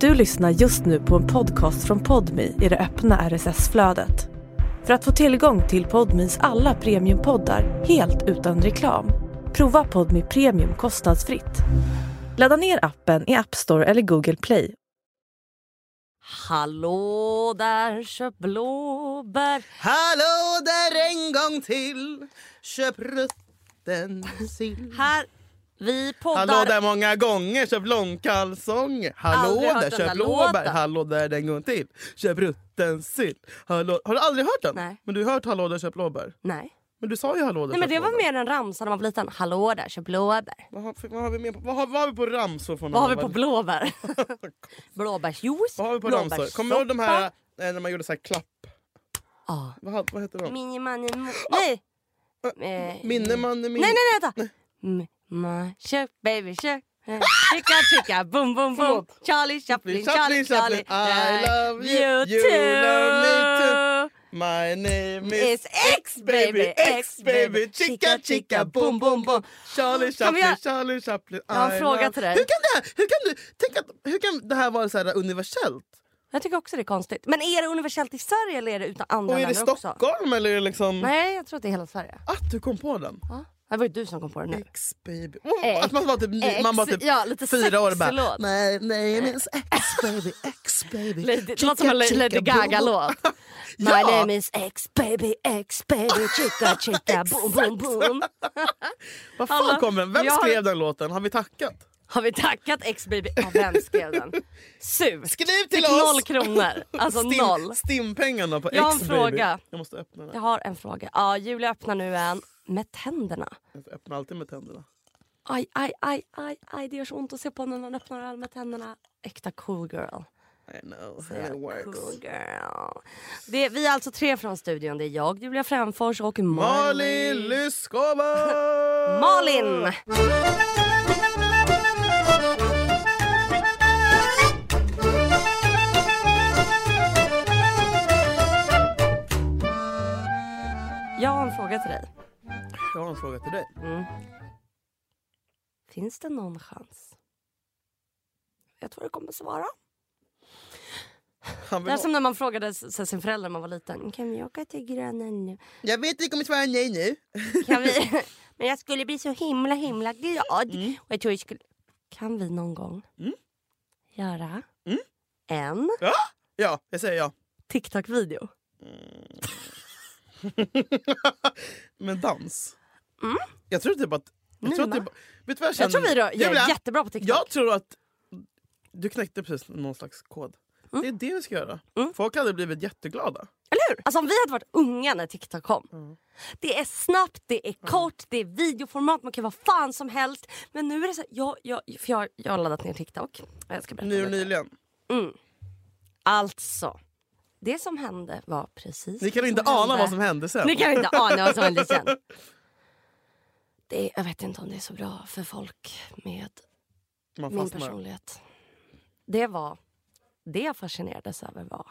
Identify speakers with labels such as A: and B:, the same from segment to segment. A: Du lyssnar just nu på en podcast från Podmi i det öppna RSS-flödet. För att få tillgång till Podmis alla premiumpoddar helt utan reklam, prova Podmi Premium kostnadsfritt. Ladda ner appen i App Store eller Google Play.
B: Hallå där, köp blåbär.
C: Hallå där en gång till, köp rutten sill.
B: Här, vi poddar.
C: Hallå där många gånger, köp långkalsong. Hallå
B: Aldrig hört
C: där,
B: den
C: köp
B: där
C: blåbär.
B: låten.
C: Hallå där en gång till, köp rutten sill. Hallå... Har du aldrig hört den?
B: Nej.
C: Men du har hört Hallå där, köp blåbär.
B: Nej.
C: Men du sa ju Hallå där,
B: Nej men det
C: köp
B: var
C: blåbär.
B: mer en ramsa när man var liten. Hallå där, köp blåbär.
C: Vad har, vad har vi mer på, vad har, vad har vi på ramsor? Från
B: Vad har vi
C: när
B: på
C: man var-
B: blåbär? Blåbärsjuice,
C: Vad har vi på ramsor? Kommer du ihåg de här eh, när man gjorde så här klapp?
B: Ja.
C: Vad, ha- vad heter de?
B: Mini money, mo- Nej! Eh,
C: Ah. Minne man... Min...
B: Nej, nej, nej, vänta! Mm, ma, Kök, baby, kök. Eh, Chicka, chicka, boom, boom, boom.
C: Förlåt.
B: Charlie Chaplin, Charlie, Charlie.
C: Chaplin,
B: Eh,
C: Chaplin. I love you. You love me
B: too.
C: too. My
B: It's
C: name is
B: X baby, X baby,
C: Chicka chicka boom boom boom Charlie
B: Kan vi
C: Chaplin,
B: göra-
C: Charlie Chaplin
B: Jag har en
C: I
B: fråga
C: love-
B: till dig.
C: Hur kan det här, hur kan du, tänk att, hur kan det här vara så här universellt?
B: Jag tycker också det är konstigt. Men är det universellt i Sverige eller är det utan andra
C: Och är det
B: länder också?
C: Stockholm eller är det liksom...
B: Nej, jag tror att det är hela Sverige.
C: Att du kom på den?
B: Ja. Det var ju du som kom på det nu.
C: X baby. Oh, att man var typ,
B: X,
C: man var typ
B: ja, lite
C: fyra år och bara
B: sexlåt.
C: My name is X baby, X baby
B: Lady- Det låter som
C: Chicka,
B: en La-
C: chicka,
B: Lady
C: boom, boom.
B: Gaga-låt. My
C: Ja.
B: name is X baby, X baby, chicka chicka boom boom boom.
C: Var fan
B: Alla-
C: kom den? Vem
B: Jag har-
C: skrev den låten? Har vi tackat?
B: Har vi tackat X baby? Ja, vem skrev den? Su.
C: Skriv till
B: Fick
C: oss!
B: noll kronor. Alltså
C: Stim,
B: noll.
C: Stimpengarna på
B: Jag har en
C: X baby.
B: fråga.
C: Jag måste öppna den.
B: Jag har en fråga. Ja, Julia öppnar nu en med tänderna.
C: Jag öppnar alltid med tänderna.
B: Aj, aj, aj, aj, aj, det gör så ont att se på när man öppnar öl med tänderna. Äkta cool girl.
C: I know how it
B: Ja,
C: works.
B: Cool girl. Det är, vi är alltså tre från studion. Det är jag, Julia Fränfors och Malin.
C: Malin Lyskova!
B: Malin! Jag har en fråga till dig.
C: Jag har en fråga till dig.
B: Finns det någon chans? Jag tror du kommer svara.
C: Han
B: Det
C: vill
B: är
C: ha...
B: som när man frågade s- s- sin förälder när man var liten. Kan vi åka till grannen nu?
C: Jag vet att du kommer svara nej nu.
B: Kan vi? Men jag skulle bli så himla himla glad.
C: Mm.
B: Och jag tror jag skulle... Kan vi någon gång göra
C: Mm.
B: en
C: Ja, ja jag säger ja.
B: TikTok-video?
C: Men dans. Jag tror typ att... Jag tror
B: Nina?
C: typ, vet du vad
B: Mm.
C: jag
B: Jag
C: känner?
B: tror vi rör, jag
C: Julia,
B: är jättebra på TikTok.
C: Jag tror att du knäckte precis någon slags kod.
B: Mm.
C: Det är det vi ska göra. Folk hade blivit jätteglada.
B: Eller hur? Alltså om vi hade varit unga när TikTok kom.
C: Mm.
B: Det är snabbt, det är kort, det är videoformat, man kan vara fan som helst. Men nu är det så här, jag, jag, för jag, jag har laddat ner TikTok. Jag ska berätta
C: Nu
B: lite.
C: och nyligen.
B: Alltså, det som hände var precis
C: Ni kan
B: det
C: inte
B: hände.
C: ana vad som hände sen.
B: Ni kan inte ana vad som hände sen. Det är, jag vet inte om det är så bra för folk med
C: Man
B: min
C: fastnar.
B: personlighet. Det var... Det jag fascinerades över var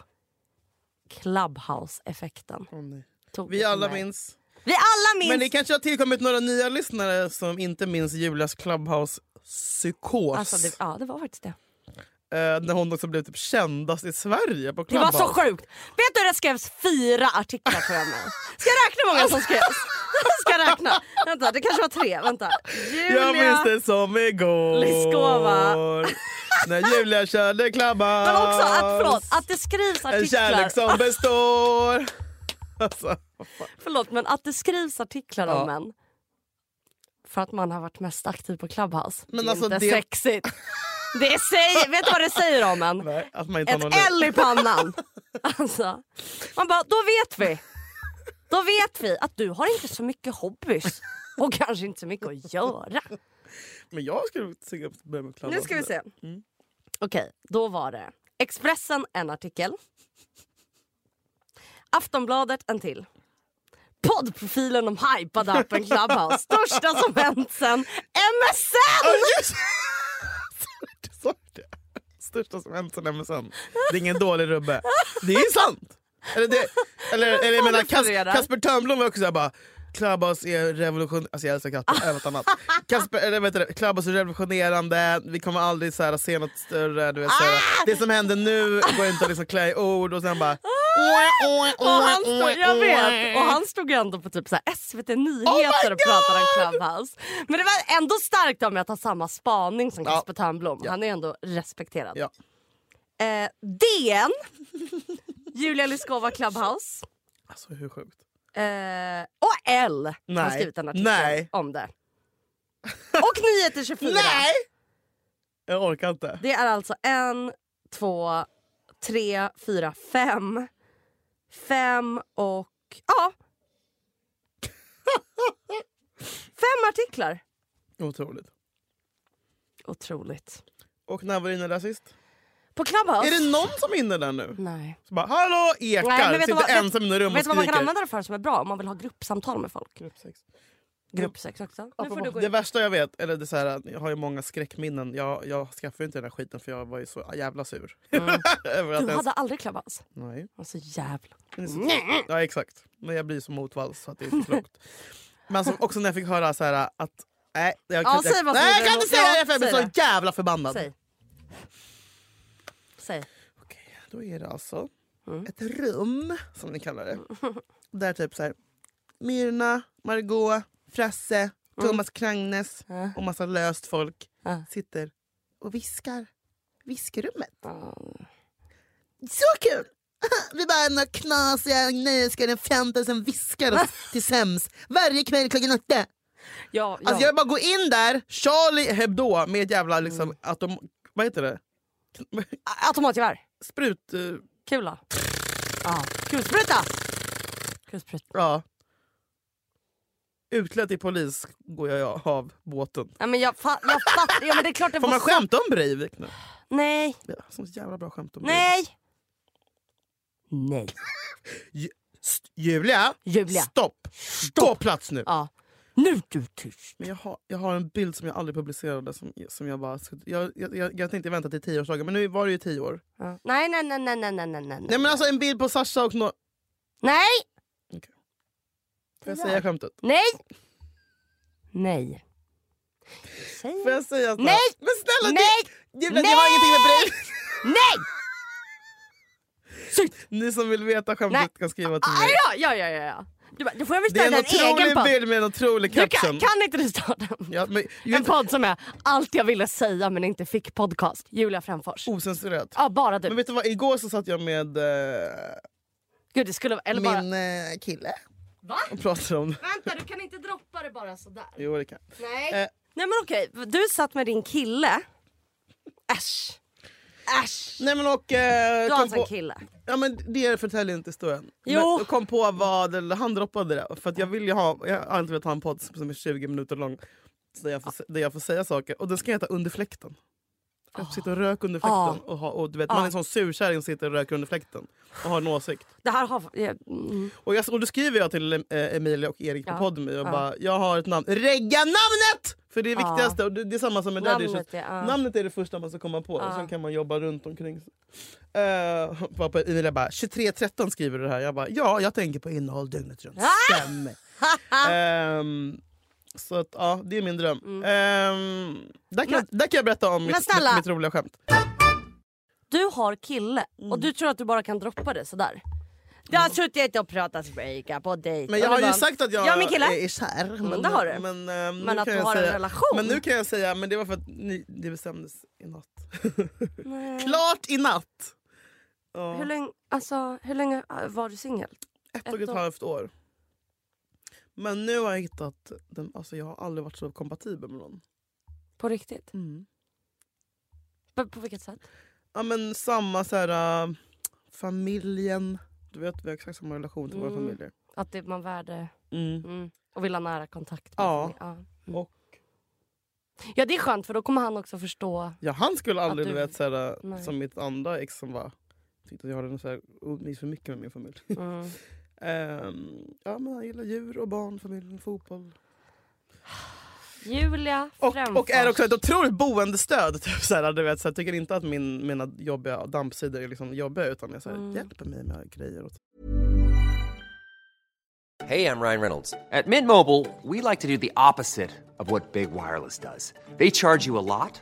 B: Clubhouse-effekten.
C: Åh, nej.
B: Tog
C: Vi
B: det
C: alla
B: mig.
C: minns.
B: Vi alla minns!
C: Men det kanske har tillkommit några nya lyssnare som inte minns Julias Clubhouse-psykos.
B: Alltså, det, ja, det var faktiskt det.
C: eh, när hon också blev typ kändast i Sverige på
B: Det
C: Clubhouse.
B: var så sjukt! Vet du det skrevs fyra artiklar på den här? Ska jag räkna hur många som skrevs? Ska jag räkna? Vänta, det kanske var tre. Vänta.
C: Jag minns
B: Julia.
C: det som igår.
B: Lyskova.
C: När Julia körde Clubhouse.
B: Men också att, förlåt, att det skrivs
C: En
B: artiklar. Ah.
C: kärlek som består. Alltså,
B: Förlåt, men att det skrivs artiklar
C: Ja.
B: om en för att man har varit mest aktiv på Clubhouse.
C: Men
B: det är
C: alltså,
B: inte
C: det-
B: sexigt. Det säger, vet du vad det säger om en?
C: nej, att man inte har någon
B: Ett L i pannan. Alltså, man bara, då vet vi. Då vet vi att du har inte så mycket hobbys och kanske inte så mycket att göra.
C: Men jag skulle tycka att börja med Clubhouse.
B: Nu ska vi se.
C: Mm.
B: Okej, då var det Expressen en artikel. Aftonbladet en till. Poddprofilen om hypade appen Clubhouse. Största som hänt sen MSN!
C: Oh, yes! Sorry, sorry. Största som hänt sen MSN. Det är ingen dålig rubbe. Det är sant! Eller, det, eller, eller jag menar, Kas,
B: refererar.
C: Kasper Törnblom var också såhär bara Clubhouse är revolution... Alltså jag älskar katter, även annat. Kasper, eller vet du, Clubhouse är revolutionerande, vi kommer aldrig så här, se något större. Du vet, så
B: Ah!
C: här, det som händer nu går inte att liksom klä i ord och sen bara...
B: Ah! Och han stod, jag vet, och han stod ju ändå på typ så här SVT Nyheter och pratade om Clubhouse. Men det var ändå starkt av mig att ha samma spaning som
C: Ja.
B: Kasper Törnblom. Han är ändå respekterad.
C: Ja.
B: Eh, DN, Julia Lyskova Clubhouse
C: Alltså hur sjukt?
B: eh, och L har
C: Nej.
B: skrivit en artikel
C: Nej.
B: om det. Och Nyheter 24.
C: Nej! Jag orkar inte.
B: Det är alltså en, två, tre, fyra, fem. Fem och... Ja. fem artiklar.
C: Otroligt. Otroligt. Och när var du inne där sist?
B: På Clubhouse.
C: Är det någon som är inne där nu?
B: Nej.
C: Så bara, Hallå ekar!
B: Alltså- Nej, men vet du
C: Sitter
B: vad- vet-
C: ensam i något rum och
B: Vet du vad man kan
C: skriker.
B: använda det för som är bra om man vill ha gruppsamtal med folk?
C: Gruppsex.
B: Gruppsex också. Nu får du gå
C: Det
B: in.
C: värsta jag vet, eller det är så här, jag har ju många skräckminnen. Jag, jag skaffade ju inte den här skiten för jag var ju så jävla sur. Över att
B: Mm. Du
C: ens...
B: hade aldrig Clubhouse?
C: Nej.
B: Alltså jävla...
C: Men det är så- Ja exakt. Men jag blir så motvalls så att det är inte klokt. Men som, också när jag fick höra så här att... Nej, jag kan,
B: Ja,
C: inte-
B: säg vad som
C: nej,
B: är
C: jag kan
B: emot.
C: inte säga
B: Ja,
C: det för jag blir
B: säg
C: så jävla förbannad.
B: Säg. Säg.
C: Okej, då är det alltså
B: Mm.
C: ett rum, som ni kallar det. Där typ så här, Myrna, Margot, Frasse,
B: Mm.
C: Thomas Krangnes
B: Ja.
C: och massa löst folk
B: Ja.
C: sitter och viskar. Viskrummet.
B: Ja.
C: Så kul! Vi bara är några knasiga nöjeskare, 5000 viskar oss till säms varje kväll klockan åtta.
B: Ja, ja.
C: Alltså jag bara går in där, Charlie Hebdo med ett jävla liksom
B: Mm.
C: atom... Vad heter det?
B: Automatgevär.
C: Sprut... eh,
B: Kula. Ja. Kulspruta! Kulspruta.
C: Ja. Utklädd till polis går jag av båten.
B: Ja, men jag, fa- jag fattar. Ja, men det är klart det
C: Får
B: var
C: man skämta om Breivik nu?
B: Nej.
C: Ja, så jävla bra skämt om Breivik.
B: Nej. Nej.
C: St- Julia,
B: Julia.
C: Stopp! Gå plats nu!
B: Ja. Nu är du tyst.
C: Men jag, har, jag har en bild som jag aldrig publicerade. Som, som jag, bara, jag, jag, jag, jag tänkte vänta till tioårsdagen, men nu var det ju tio år.
B: Ja. Nej, nej, nej, nej, nej, nej, nej, nej.
C: Nej men alltså en bild på Sasha och no-
B: Nej.
C: Får jag
B: Ja.
C: säga skämtet?
B: Nej. Nej. Säg.
C: Får jag säga snart?
B: Nej!
C: Men snälla!
B: Nej.
C: Det, Julia, det har ingenting med Breivik
B: Nej.
C: Ni som vill veta
B: Nej.
C: skämtet kan skriva till
B: Ah,
C: mig.
B: ja, ja, ja, ja, ja. Du, bara, då får jag väl
C: Det är
B: starta
C: en
B: en egen podd.
C: otrolig bild med en otrolig
B: Du kan,
C: kapsen.
B: kan inte du starta en-
C: Ja, men,
B: en podd som är allt jag ville säga men inte fick podcast? Julia Frändfors.
C: Osensurerat.
B: Ja, bara du.
C: Men vet du vad, igår så satt jag med eh,
B: Gud, det skulle eller bara...
C: min eh, kille
B: Va?
C: och pratade om det.
B: Vänta, du kan inte droppa det bara sådär.
C: Jo, det kan. jag.
B: Nej.
C: Eh.
B: Nej men okej, du satt med din kille. Äsch. Äsch.
C: Nej men och... Eh,
B: Du har
C: kom
B: alltså en
C: på,
B: kille.
C: ja, men det förtäljer inte historien.
B: Jo.
C: Men, och kom på vad, eller han droppade det. För att jag vill ju ha, jag har alltid velat ha en podd som är 20 minuter lång. Så där, jag får, sä- där jag får säga saker. Och den ska heta Under fläkten. Jag sitter och rök under fläkten.
B: Ah.
C: Och ha, och du vet, Man är en sån surkärring som sitter och röker under fläkten. Och har en åsikt.
B: Det här har... ja, Mm.
C: Och, jag, och då skriver jag till eh, Emilia och Erik på
B: Ja.
C: Podmy och
B: Ja.
C: bara jag har ett namn. Regga namnet! För det är det
B: Ja.
C: viktigaste. Och det, det är samma som med Daddy
B: Namnet,
C: Issues.
B: ja.
C: Namnet är det första man ska komma på och sen kan man jobba runt omkring. Uh, på Emilia bara 23.13 skriver du det här. Jag bara ja, jag tänker på innehåll dygnet runt.
B: Ah!
C: Stämmer. Ehm, så att, ja, det är min dröm. Ehm, där, kan, där kan jag berätta om mitt,
B: Mm. Men snälla.
C: mitt roliga skämt.
B: Du har kille och du tror att du bara kan droppa det sådär. Du har suttit och pratat spejka på dejt.
C: Mm. Men
B: och
C: jag
B: du
C: har ju
B: bara,
C: sagt att jag
B: Jag och min kille. Mm,
C: är kär. Men,
B: det har du.
C: Men, eh, nu
B: Men att
C: kan
B: du
C: jag
B: har en
C: säga-
B: relation.
C: Men nu kan jag säga, men det var för att ni, det bestämdes i natt.
B: Nej.
C: Klart i natt! Ja,
B: Hur länge, alltså, hur länge äh, var du singel?
C: ett och ett
B: år.
C: halvt år. Men nu har jag hittat, den, alltså jag har aldrig varit så kompatibel med någon.
B: På riktigt?
C: Mm.
B: På, på vilket sätt?
C: Ja men samma så här, äh, familjen. Du vet vi har exakt samma relation till våra
B: Mm.
C: familjer.
B: Att det, man värde
C: Mm.
B: mm, och vill ha nära kontakt. med
C: Ja.
B: sin- Ja. Mm.
C: Och
B: ja det är skönt för då kommer han också förstå.
C: Ja, han skulle aldrig
B: du-
C: du... vet, såhär,
B: Nej.
C: som mitt andra ex som var tyckte att jag hade såhär, umgicks för mycket med min familj.
B: Mm.
C: Ehm, ja, men han gillar djur och barn, familjen, fotboll.
B: Julia
C: Och,
B: Fränfors.
C: och är också ett otroligt boendestöd. Typ, såhär, du vet, såhär, tycker inte att min, mina jobbiga dampsidor är liksom jobbiga utan jag såhär,
B: Mm.
C: hjälper mig med grejer. Och
D: Hey, I'm Ryan Reynolds. At Mint Mobile, we like to do the opposite of what Big Wireless does. They charge you a lot,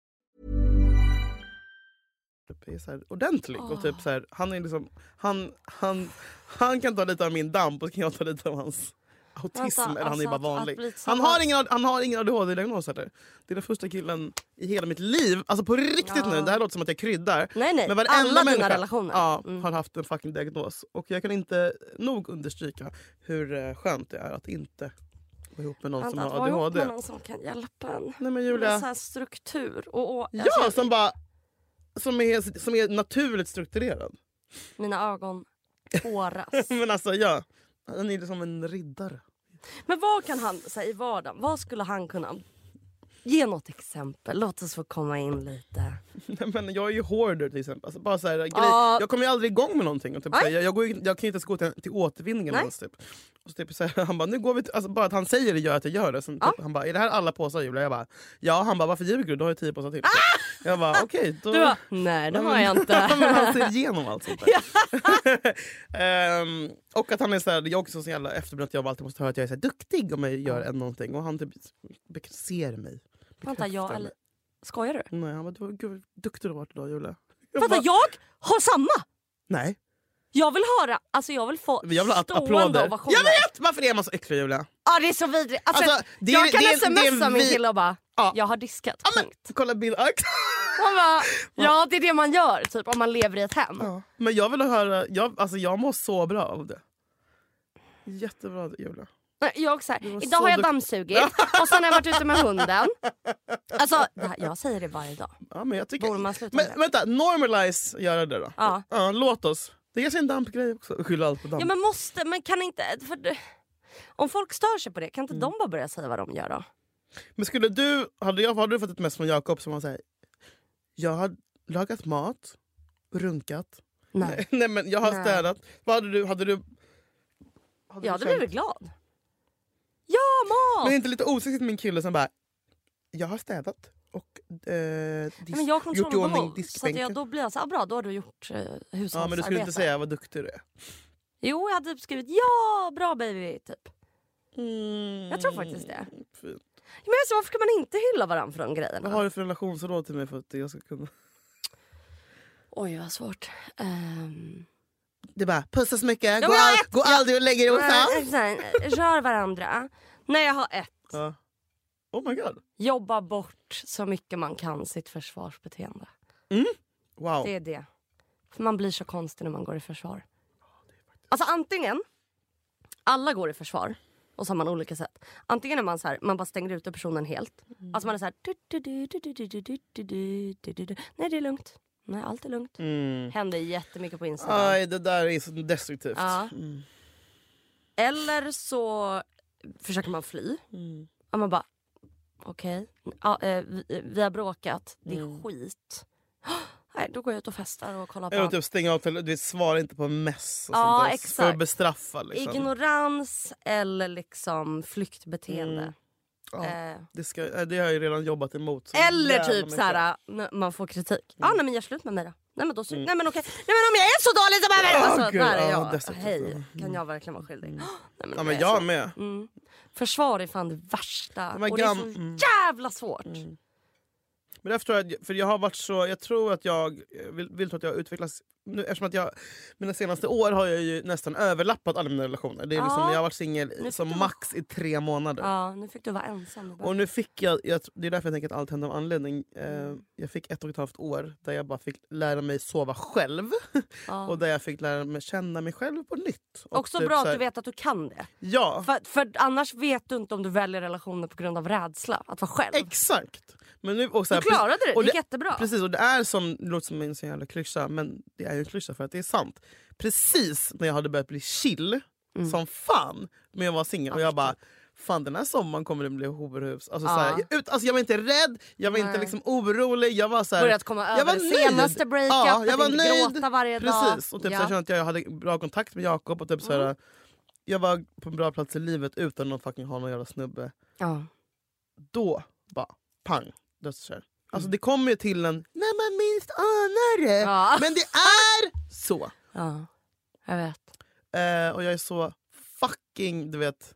C: typ är så här ordentlig. Och typ så här, han, är liksom, han, han, han kan ta lite av min damp och så kan jag ta lite av hans autism.
B: Vänta,
C: eller han
B: alltså
C: är
B: att-
C: bara
B: att
C: vanlig.
B: bli
C: han,
B: tillsammans-
C: har ingen, han har ingen ADHD-diagnos heller. Det är den första killen i hela mitt liv. Alltså på riktigt nu. Det här låter som att jag kryddar.
B: Nej, nej.
C: Men varenda
B: Alla dina
C: människa
B: relationer.
C: Ja,
B: Mm.
C: har haft en fucking diagnos. Och jag kan inte nog understryka hur eh, skönt det är att inte vara ihop med någon som
B: Vänta, att
C: har
B: vara ihop
C: ADHD.
B: med någon som kan hjälpa en.
C: Nej men
B: Med
C: Julia.
B: så här struktur. Och, och,
C: Ja,
B: alltså,
C: som bara... Som är, som är naturligt strukturerad.
B: Mina ögon tåras.
C: Men alltså ja, han är liksom en riddare.
B: Men vad kan han säga i vardagen? Vad skulle han kunna... Ge något exempel. Låt oss få komma in lite.
C: Nej, Men jag är ju hoarder till exempel. Alltså, bara så här, grej.
B: Ja.
C: Jag kommer ju aldrig igång med någonting. Och typ,
B: Nej.
C: så här, jag, jag, går, ju- jag kan ju inte ens gå till, till återvinningen.
B: Nej.
C: Ens, typ. Och så, typ, så här, han bara, nu går vi till, alltså, bara att han säger det gör att jag gör det. Sen, typ, Han bara, är det här alla påsar Julia? Jag bara, ja. Han bara, varför ljuger du? Du har ju tio påsar till. Jag bara, okej. då...
B: Ah! Du bara, nej det
C: Nej,
B: har Mm.
C: men-
B: jag inte.
C: men han ser igenom allt sånt där. Ehm, och att han är så här, jag är också så jävla efterbliven att jag alltid måste höra att jag är så här, duktig om jag gör en någonting. Och han typ bek- ser mig.
B: Vänta, jag
C: Bekräftar
B: eller... Skojar du?
C: mig. Nej, han bara, du, gud vad duktig du har varit idag Julia. Jag
B: Vänta,
C: bara,
B: jag har samma!
C: Nej,
B: Jag vill höra, alltså jag vill få
C: jag vill ha att-
B: stående
C: applåder.
B: ovationer.
C: Jag vet! Varför är man så äcklig Julia?
B: Ja, det är så vidrigt. Alltså,
C: Alltså, det är-
B: jag kan
C: det är- det är
B: smsa
C: en
B: min
C: vi-
B: kille och bara,
C: Ja.
B: jag har diskat.
C: Ja, men,
B: punkt.
C: kolla bild.
B: Han bara, ja det är det man gör typ om man lever i ett hem.
C: Ja. Men jag vill höra, jag, alltså, jag mår så bra av det. Jättebra Julia.
B: Nej, Jag också så här,
C: Du var
B: idag
C: så
B: har jag
C: dukt-
B: dammsugit och sen har jag varit ute med hunden. Alltså, det här, jag säger det varje dag.
C: Ja, men jag tycker...
B: Borde man sluta med
C: Men,
B: det?
C: vänta, normalize göra det då.
B: Ja.
C: låt oss. Det är en dampgrej också. Skylla allt på damp.
B: Ja men måste, men kan inte... För, det- om folk stör sig på det, kan inte
C: Mm.
B: de bara börja säga vad de gör då?
C: Men skulle du, hade, jag, hade du fått ett mess från Jakob som var såhär, jag har lagat mat, runkat,
B: Nej.
C: nej men jag har
B: Nej.
C: städat. Vad hade du, hade du... Hade
B: Jag
C: du
B: hade
C: känt-
B: blivit glad. Ja mat!
C: Men är det inte lite osexigt med en kille som bara, jag har städat och eh,
B: Nej,
C: disk,
B: men jag har kontroll
C: gjort i
B: och
C: ordning
B: behåll. Så att jag,
C: diskbänken.
B: då blir jag så här, bra då har du gjort eh, hushållsarbete.
C: Ja, men du skulle inte säga vad duktig du är.
B: Jo jag hade typ skrivit ja bra baby typ. Mm. Jag tror faktiskt det.
C: Mm, Fint.
B: Men alltså, varför kan man inte hylla varandra för de grejerna?
C: Vad har du för relationsråd till mig för att jag ska kunna...
B: Oj vad svårt. Ehm,
C: Det är bara, pussa så mycket,
B: Ja,
C: gå,
B: men jag
C: all,
B: vet-
C: gå aldrig och lägg dig
B: nej, eh,
C: osams.
B: nej, rör varandra. Nej jag har ett.
C: Ja. Oh my god.
B: Jobba bort så mycket man kan sitt försvarsbeteende.
C: Wow.
B: Det är det. För man blir så konstig när man går i försvar. Alltså antingen, alla går i försvar. Och så har man olika sätt. Antingen är man så här, man bara stänger ute personen helt. Alltså man är så här... Du, du, du, du, du, du, du, du, du, du, du, du. Nej det är lugnt. Nej allt är lugnt.
C: Mm.
B: Händer jättemycket på Instagram.
C: Aj, det där är så destruktivt.
B: Ja.
C: Mm.
B: Eller så försöker man fly.
C: Mm.
B: Och man bara, okej, ja, eh, vi, eh, vi har bråkat, det är skit. Nej, då går jag ut och festar och kollar på
C: Eller
B: allt.
C: typ stänga av telefonen, du vet, svara inte på mess. Och
B: Ja,
C: sånt där.
B: exakt.
C: För att bestraffa. Liksom.
B: Ignorans eller liksom flyktbeteende.
C: Mm, Ja,
B: Eh,
C: det, ska, eh, det har jag ju redan jobbat emot. så
B: eller
C: jävla
B: typ
C: mycket. Mm.
B: så här, när man får kritik. Ah, nej men gör slut med mig då. Nej men, då, sy- nej men okej, nej men om jag är så dålig så behöver
C: Åh,
B: alltså,
C: gud,
B: där är
C: ja,
B: jag.
C: dessutom. Mm.
B: Hej, kan jag verkligen vara skyldig? Nej,
C: Ja,
B: om
C: men
B: är så-
C: jag med.
B: Mm. Försvar är fan det värsta.
C: De här Mm.
B: och det är
C: gam- mm.
B: så jävla svårt.
C: Men därför tror jag, att- för jag har varit så, jag tror att jag eh, vill, vill tro att jag utvecklas. Nu, eftersom att jag, mina senaste år har jag ju nästan överlappat alla mina relationer. Det är
B: Ja.
C: liksom, jag har varit singel
B: Nu
C: i- som
B: fick du-
C: max i tre månader.
B: Ja, nu fick du vara ensam. i början.
C: Och nu fick jag, jag, tr- det är därför jag tänker att allt händer av anledning. Eh,
B: Mm.
C: jag fick ett och ett halvt år där jag bara fick lära mig sova själv.
B: Ja.
C: Och där jag fick lära mig känna mig själv på nytt. Och
B: Också
C: typ
B: bra
C: så
B: att
C: här-
B: du vet att du kan det.
C: Ja,
B: För, för annars vet du inte om du väljer relationer på grund av rädsla att vara själv.
C: exakt. Men nu, och så
B: Du
C: här,
B: klarade det,
C: och
B: det gick jättebra.
C: Precis, och det är som, det låter som en sån jävla klyscha, men det är ju en klyscha för att det är sant.
B: Mm.
C: Precis när jag hade börjat bli chill som fan, men jag var singel och jag bara fan den här sommaren kommer det bli horhus. Alltså,
B: Ja.
C: så här, jag- ut, alltså, jag var inte rädd, jag var inte
B: Nej.
C: liksom, orolig. Jag var, så här,
B: Börjat komma
C: jag
B: över
C: var nöjd.
B: senaste breakup,
C: Ja, jag var
B: inte
C: nöjd.
B: gråta varje dag.
C: Precis. Och typ,
B: Ja. Mm.
C: så här, kände att jag hade bra kontakt med Jakob. Och typ, så här, jag var på en bra plats i livet utan att fucking ha någon jävla snubbe.
B: Ja.
C: Då bara pang, dödskärl. Alltså
B: Mm.
C: det kommer ju till en när man minst anar det.
B: Ja.
C: Men det är så.
B: ja, jag vet.
C: Eh, och jag är så fucking, du vet...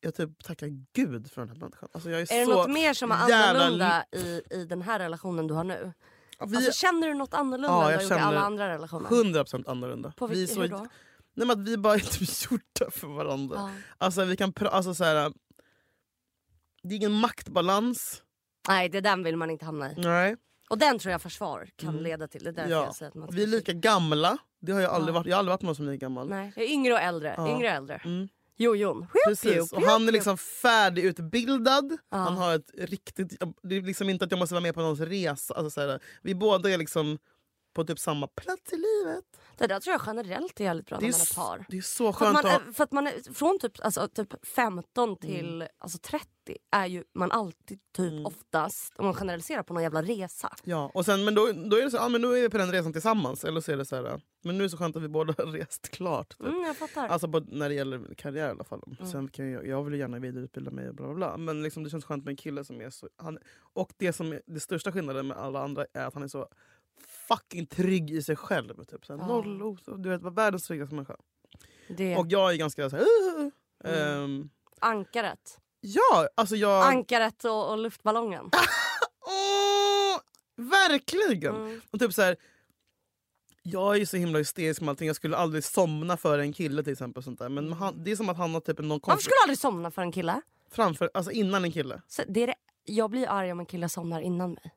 C: Jag typ tackar gud för den här människan. Alltså jag är,
B: Är det
C: så
B: något mer som är
C: jävla-
B: annorlunda i, i den här relationen du har nu?
C: Vi
B: Alltså, känner du något annorlunda
C: Ja,
B: än du
C: jag
B: har gjort i
C: känner
B: alla andra relationer?
C: är 100% annorlunda.
B: På
C: vi är
B: vilket,
C: så,
B: hur då?
C: nej, men att vi bara är typ gjorda för varandra.
B: Ja.
C: Alltså vi kan pra- alltså så här, Det är ingen maktbalans.
B: Nej, det den vill man inte hamna i.
C: Nej.
B: Och den tror jag försvar kan leda till. Det är därför
C: Mm. Ja.
B: jag säger att man ska
C: Vi är lika gamla. Det har jag, aldrig varit. jag har aldrig varit med någon som är lika gammal.
B: Nej, jag är yngre och äldre.
C: Ja.
B: Yngre och äldre.
C: Mm.
B: Jojon.
C: Precis. Och han är liksom färdigutbildad. Han har ett riktigt jobb. Det är liksom inte att jag måste vara med på någons resa. Alltså så här, vi båda är liksom på typ samma plats i livet.
B: Det där tror jag generellt är jävligt bra när man är
C: s-
B: par.
C: det är så
B: För att
C: skönt
B: man,
C: att Mm.
B: är, för att man är, från typ, alltså, typ 15 till alltså 30 är ju man alltid typ
C: Mm.
B: oftast, om man generaliserar, på någon jävla resa.
C: Ja, och sen, men då, då är det så, ja, men då är vi på den resan tillsammans. Eller så är det så här, men nu är det så skönt att vi båda har rest klart. Typ.
B: Mm, jag fattar.
C: Alltså på, när det gäller karriär i alla fall.
B: Mm.
C: Sen kan jag, jag vill ju gärna vidareutbilda mig och bla bla bla. Men liksom, det känns skönt med en kille som är så... Han, och det som är det största skillnaden med alla andra är att han är så fucking trygg i sig själv. Typ. Så här, noll, os- du vet, världens tryggaste människa.
B: det är
C: Och jag är ganska så här...
B: Mm.
C: "Ugh." Ehm,
B: ankaret.
C: ja, alltså jag...
B: Ankaret och, och luftballongen.
C: Åh, verkligen!
B: Mm.
C: Och typ så här, jag är ju så himla hysterisk med allting. Jag skulle aldrig somna för en kille till exempel. och Sånt där. Men han, det är som att han har typ någon
B: Mm. Varför
C: konstig...
B: skulle du aldrig somna för en kille?
C: Framför, alltså innan en kille.
B: Så det är det, jag blir arg om en kille somnar innan mig.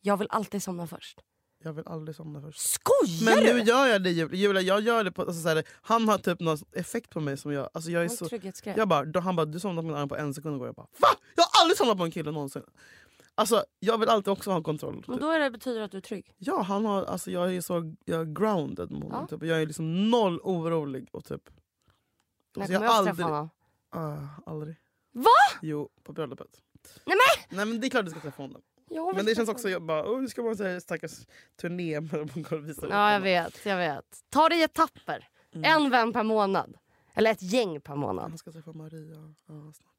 B: Jag vill alltid somna först.
C: Jag vill aldrig somna först.
B: Skojar
C: Men
B: du?
C: nu gör jag det Julia. Julia, jag gör det på, alltså så här, han har typ någon effekt på mig som jag... Alltså jag är
B: En
C: så,
B: trygghetsgrej.
C: jag bara, då, han bara, du somnade på min arm på en sekund igår. Jag bara, va? Jag har aldrig somnat på en kille någonsin. Alltså jag vill alltid också ha kontroll. Typ.
B: Men då är det, betyder det att du är trygg.
C: Ja, han har, alltså jag är så jag är grounded mot honom.
B: Ja.
C: Typ. Jag är liksom noll orolig. Och typ,
B: När
C: Alltså,
B: kommer
C: jag
B: jag
C: har
B: få träffa
C: aldrig-
B: honom?
C: Ah, aldrig.
B: Va?
C: Jo, på bröllopet.
B: Nej,
C: men! Nej men det är klart du ska träffa honom.
B: Jag vill
C: Men det
B: träffa
C: känns också, jag bara, oh, nu ska man säga stackars turné med att man går och visar upp
B: Ja, jag
C: honom.
B: vet. jag vet. Ta det i etapper. En vän per månad. Eller ett gäng per månad.
C: Han ska träffa Maria ja, snart.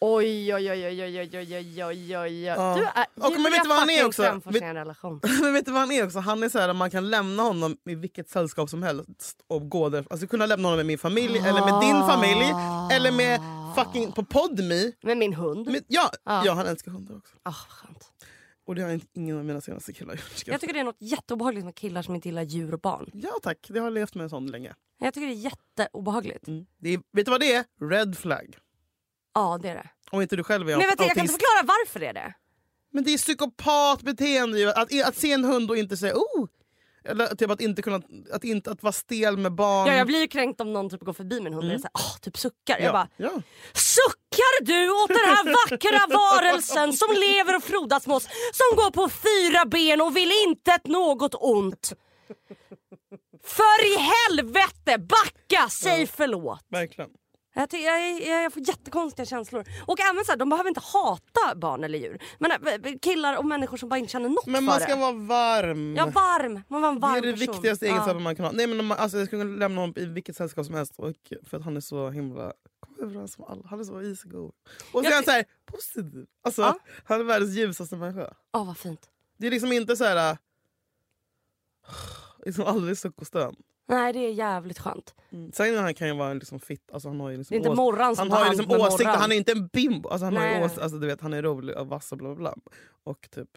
B: Oj, oj, oj, oj, oj, oj, oj, oj, oj, oj.
C: Ja.
B: Du är...
C: Och men vet du vad han är också?
B: Vet...
C: Vet-
B: en relation.
C: men vet du vad han är också? Han är så här, man kan lämna honom i vilket sällskap som helst och gå där. Alltså kunna lämna honom med min familj, eller med din familj, eller med fucking på Podme.
B: Ah. Med min hund.
C: Men, ja, ja, han älskar hundar också.
B: Ah, skönt.
C: Och det har inte- ingen av mina senaste killar gjort. ska
B: Jag
C: jag
B: tycker det är något jätteobehagligt med killar som inte gillar djur och barn.
C: säga. Ja tack, det har jag levt med en sån länge.
B: Jag tycker det är jätteobehagligt. Ja,
C: Mm. Det är, vet du vad det är? Red flag.
B: det är det.
C: Om inte du själv är
B: Men vet du, jag kan
C: autist.
B: inte förklara varför det är det.
C: Men det är psykopatbeteende ju. Att, att se en hund och inte säga oh! Eller typ att inte kunna, att, inte, att vara stel med barn.
B: Ja, jag blir ju kränkt om någon typ går förbi min hund och är så här, "Ah, typ suckar.
C: Ja,
B: Jag bara,
C: ja.
B: Suckar du åt den här vackra varelsen som lever och frodas med oss, som går på fyra ben och vill inte ett något ont? För i helvete, backa, säg förlåt.
C: Verkligen.
B: Jag, ty- jag, jag, jag får jättekonstiga känslor. Och även så här, de behöver inte hata barn eller djur. Men eh, killar och människor som bara inte känner något
C: Men
B: för
C: man ska
B: det.
C: vara varm.
B: Ja, varm. Man var en varm
C: det är det
B: person.
C: viktigaste
B: Ja.
C: egenskapen man kan ha. Nej, men om man, alltså, jag skulle kunna lämna honom i vilket sällskap som helst och, för att han är så himla kom överens med alla. Han är så easygoing. Och så
B: Jag
C: är han
B: ty-
C: så här, positiv. Alltså,
B: Ja.
C: Han är världens ljusaste människa.
B: Ja, vad fint.
C: Det är liksom inte så här... äh, Liksom aldrig suck och stön.
B: Nej, det är jävligt skönt.
C: Sen han kan ju vara liksom fit, alltså han har ju liksom
B: Det är inte
C: ås-
B: Morran som
C: han
B: tar
C: har ju
B: hand
C: liksom
B: med
C: åsikter,
B: Morran.
C: han är inte en bimbo. Alltså han, har
B: Nej,
C: ju
B: nej.
C: ås- alltså du vet, han är rolig och vass och bla bla bla. Och typ,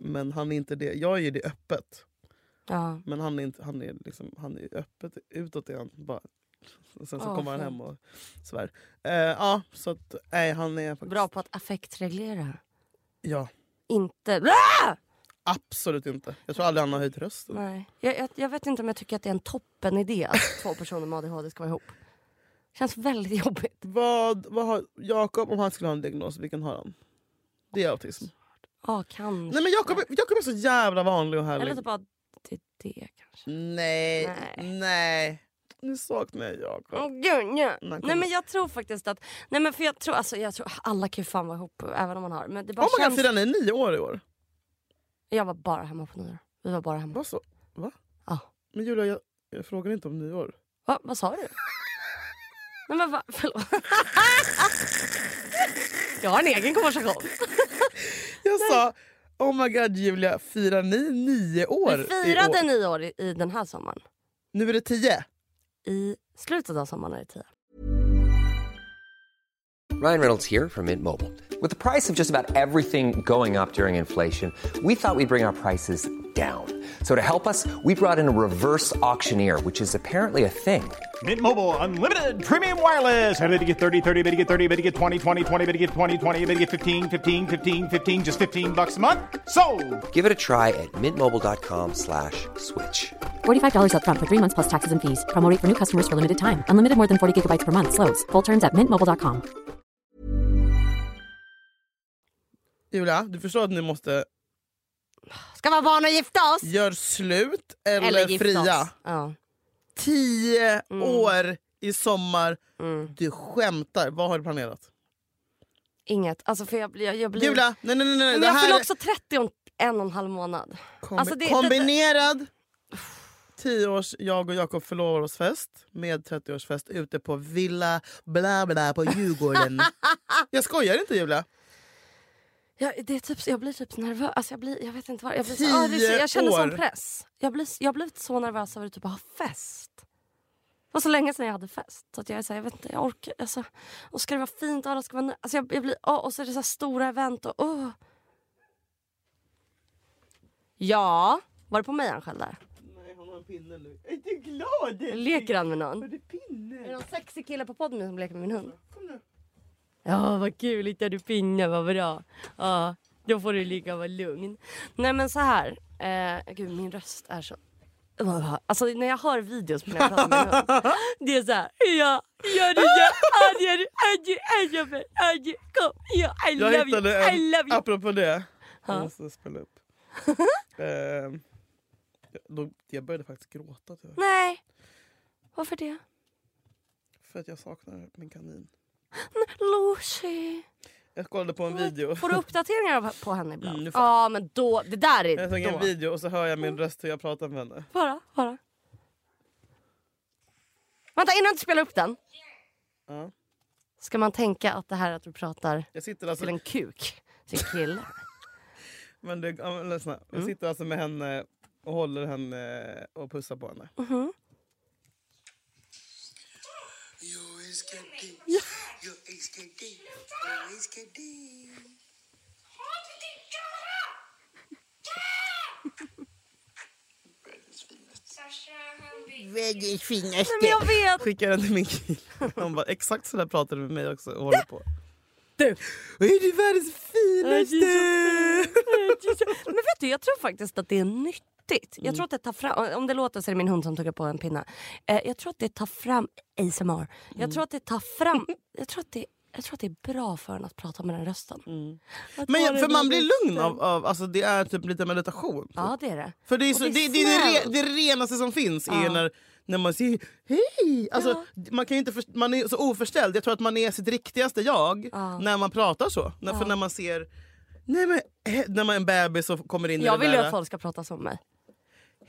C: men han är inte det. Jag är ju det öppet.
B: Ja.
C: Men han är, inte, han är, liksom, han är öppet utåt igen. Bara. Och sen så
B: Åh,
C: kommer han
B: fint.
C: hem och svär. Eh, ja, så att, nej, han är faktiskt...
B: Bra på att affektreglera.
C: Ja,
B: Inte...
C: absolut inte. Jag tror aldrig han har höjt rösten.
B: Nej. Jag, jag, jag vet inte om jag tycker att det är en toppen idé att två personer med ADHD ska vara ihop. Känns väldigt jobbigt.
C: Vad, vad har Jakob, om han skulle ha en diagnos, vilken har han? Det är autism.
B: Ja, kanske.
C: Nej men Jakob, är- Jakob är så jävla vanlig och härlig.
B: Eller typ bara det, det kanske.
C: Nej.
B: Nej.
C: Nej. nu saknar jag Jakob.
B: Åh, gud, ja.
C: kommer-
B: Nej men jag tror faktiskt att... Nej men för jag tror, alltså, jag tror alla kan ju fan vara ihop även om man har. Men det bara
C: Oh my god,
B: känns...
C: firar ni nio år i år?
B: jag var bara hemma på nyår. Vi var bara hemma.
C: Vad så? Va?
B: Ja.
C: Men Julia, jag, jag frågar inte om nyår.
B: Va, vad sa du? Nej men va, förlåt. jag har en egen konversation.
C: Jag sa, oh my god Julia, firar ni nio år
B: Vi
C: i
B: firade
C: år?
B: nio år i, i den här sommaren.
C: Nu är det tio.
B: I slutet av sommaren är det tio.
D: Ryan Reynolds here from Mint Mobile. With the price of just about everything going up during inflation, we thought we'd bring our prices down. So to help us, we brought in a reverse auctioneer, which is apparently a thing.
E: Mint Mobile unlimited premium wireless. Ready to get 30, 30, bit to get 30, bit to get 20, 20, 20, bit to get 20, 20, bit to get 15, 15, 15, 15 just 15 bucks a month. Sold.
D: Give it a try at mintmobile.com slash switch.
F: $45 upfront for three months plus taxes and fees. Promo rate for new customers for limited time. Unlimited more than 40 gigabytes per month. Slows. Full terms at mintmobile.com.
C: Julia, du förstår att ni måste
B: Ska vara barn och gifta oss?
C: gör slut eller,
B: gifta
C: fria.
B: Oss. Mm. Ja.
C: Tio år i sommar.
B: Mm.
C: Du skämtar. Vad har du planerat?
B: Inget. Alltså för jag, blir- jag, jag blir...
C: Julia, nej nej nej. nej.
B: Men
C: det
B: jag
C: här
B: fyller
C: är
B: också 30 om en och en halv månad.
C: kombi-
B: alltså det- det-
C: kombinerad. Tio års jag och Jakob förlovar oss fest med 30-årsfest ute på Villa bla bla på Djurgården. jag skojar inte Julia.
B: Jag, det är typ, jag blir typ nervös. Alltså jag, blir, jag vet inte vad. Jag, blir så,
C: Tio
B: ja, det är så, jag känner
C: år.
B: sån press. Jag blir, jag har blivit så nervös över att typ ha fest. Det var så länge sedan jag hade fest. Så att jag, är så här, jag vet inte, jag orkar. Alltså, och ska det vara fint och alla ska vara nö- alltså jag, jag blir, åh, Och så är det så här stora event och åh. Ja, var det på mig han skällde?
C: Nej, han har en pinne nu. Är du glad?
B: Leker han med någon?
C: det pinne?
B: Är det någon sexig kille på podden som leker med min hund? Ja, vad kul. Hittar du pinne, vad bra. Ja, då får du ligga och vara lugn. Nej, men så här. Eh, gud, min röst är så... Alltså när jag hör videos på när jag pratar med min hund. Det är så här. Ja, gör det, ja, ja, gör det, ja, gör det, ja, gör det, ja, gör det, kom, ja, I
C: Jag
B: love you,
C: hittade en,
B: I love you.
C: apropå det. Jag måste spela upp. Ehm, jag- då, jag började faktiskt gråta tyvärr,
B: Nej, varför det?
C: för att jag saknar min kanin.
B: Lucy.
C: Jag kollade på en video.
B: Får du uppdateringar av- på henne ibland?
C: Mm,
B: Ja,
C: nu får-
B: men då, det där är
C: Jag såg en
B: då.
C: video och så hör jag min röst hur jag pratar med henne.
B: Bara, bara. Vänta, innan du spelar upp den.
C: Ja.
B: Ska man tänka att det här att du pratar
C: Jag sitter alltså,
B: till en kuk, till en kille?
C: men det, ja, men lyssna.
B: Mm.
C: jag sitter alltså med henne och håller henne eh, och pussar på henne.
B: Mm.
G: Yo es que di. Yo es que di. Yo es que di. Världens finaste.
B: Men jag vet!
C: Skickar den till min kille. Han bara exakt så där pratar du med mig också och håller på.
B: Du.
C: Och är du världens finaste?
B: Men vet du, jag tror faktiskt att det är nyttigt.
C: Mm.
B: Jag tror att det tar fram, om det låter så är det min hund som tuggar på en pinne. Eh, jag tror att det tar fram ASMR.
C: Mm.
B: Jag tror att det tar fram... Jag tror att det, jag tror att det är bra för en att prata med den rösten. Att
C: Mm. Men
B: ha
C: jag,
B: den
C: för man
B: där
C: blir lugn
B: rösten.
C: av, av alltså det är typ lite meditation.
B: Ja, det är det.
C: Typ. För det, är
B: Och
C: så, det,
B: det
C: det,
B: är
C: är
B: snällt.
C: det, re, det renaste som finns är
B: Ja.
C: när, när man säger hej. Alltså, man, kan ju inte för, man är så oförställd. Jag tror att man är sitt riktigaste jag när man pratar så. När, för när man ser... Nej, men, eh, när man är en bebis och kommer in
B: Jag
C: i det
B: vill ju
C: där.
B: att folk ska prata som mig.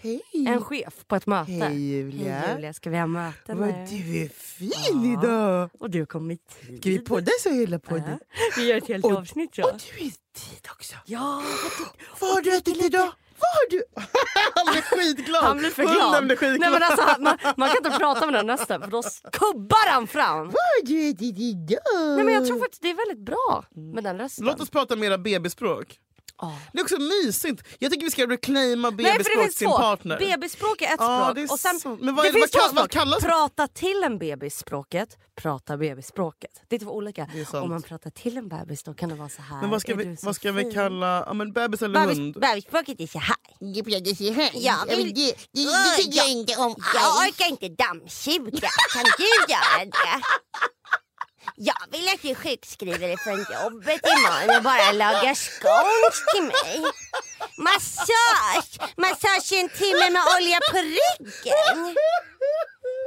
C: Hej,
B: En chef på ett möte.
C: Hej, Julia.
B: Hej Julia, ska vi ha möte
C: vad
B: nu?
C: du är fin idag.
B: Och du har kommit tid.
C: Ska vi podda så hela podden?
B: Vi gör ett helt
C: Och-
B: avsnitt
C: Och
B: ja.
C: du är i tid också.
B: Ja,
C: Vad har du ätit idag? Vad har du... Han blir skitglad.
B: han blir för
C: Hunden
B: glad.
C: blir skitglad.
B: Nej, men alltså, han- man, man kan inte prata med den rösten för då kubbar han fram.
C: Vad har du ätit idag?
B: Nej, men jag tror faktiskt det är väldigt bra med den rösten.
C: Låt oss prata mera bebisspråk.
B: Ja.
C: Det är också mysigt. Jag tycker vi ska reclaima
B: Nej, för det
C: bebisspråk
B: finns
C: till sin
B: två.
C: partner.
B: Bebisspråk är ett
C: Ja,
B: språk.
C: det är
B: och sen,
C: så- men vad är
B: det
C: det-
B: finns
C: vad
B: två
C: kall- vad
B: språk.
C: kallas det?
B: Prata till en bebis språket, prata bebisspråket. Det är två olika.
C: är sant.
B: Om man pratar till en bebis då kan det vara så här.
C: men vad ska,
B: är
C: vi,
B: du så
C: vad ska vi
B: fin?
C: kalla ja, men bebis eller
B: Bebis,
C: hund?
B: bebisspråket är så här.
G: Jag pratar så här.
B: Ja,
G: men
B: men-
G: det, det, det tycker jag
B: Ja.
G: inte om
B: Jag
G: alls.
B: orkar inte dammsuga. Kan du göra det? Jag vill att du sjukskriver dig från jobbet imorgon och bara lagar scones till mig. Massage! Massage i en timme med olja på ryggen.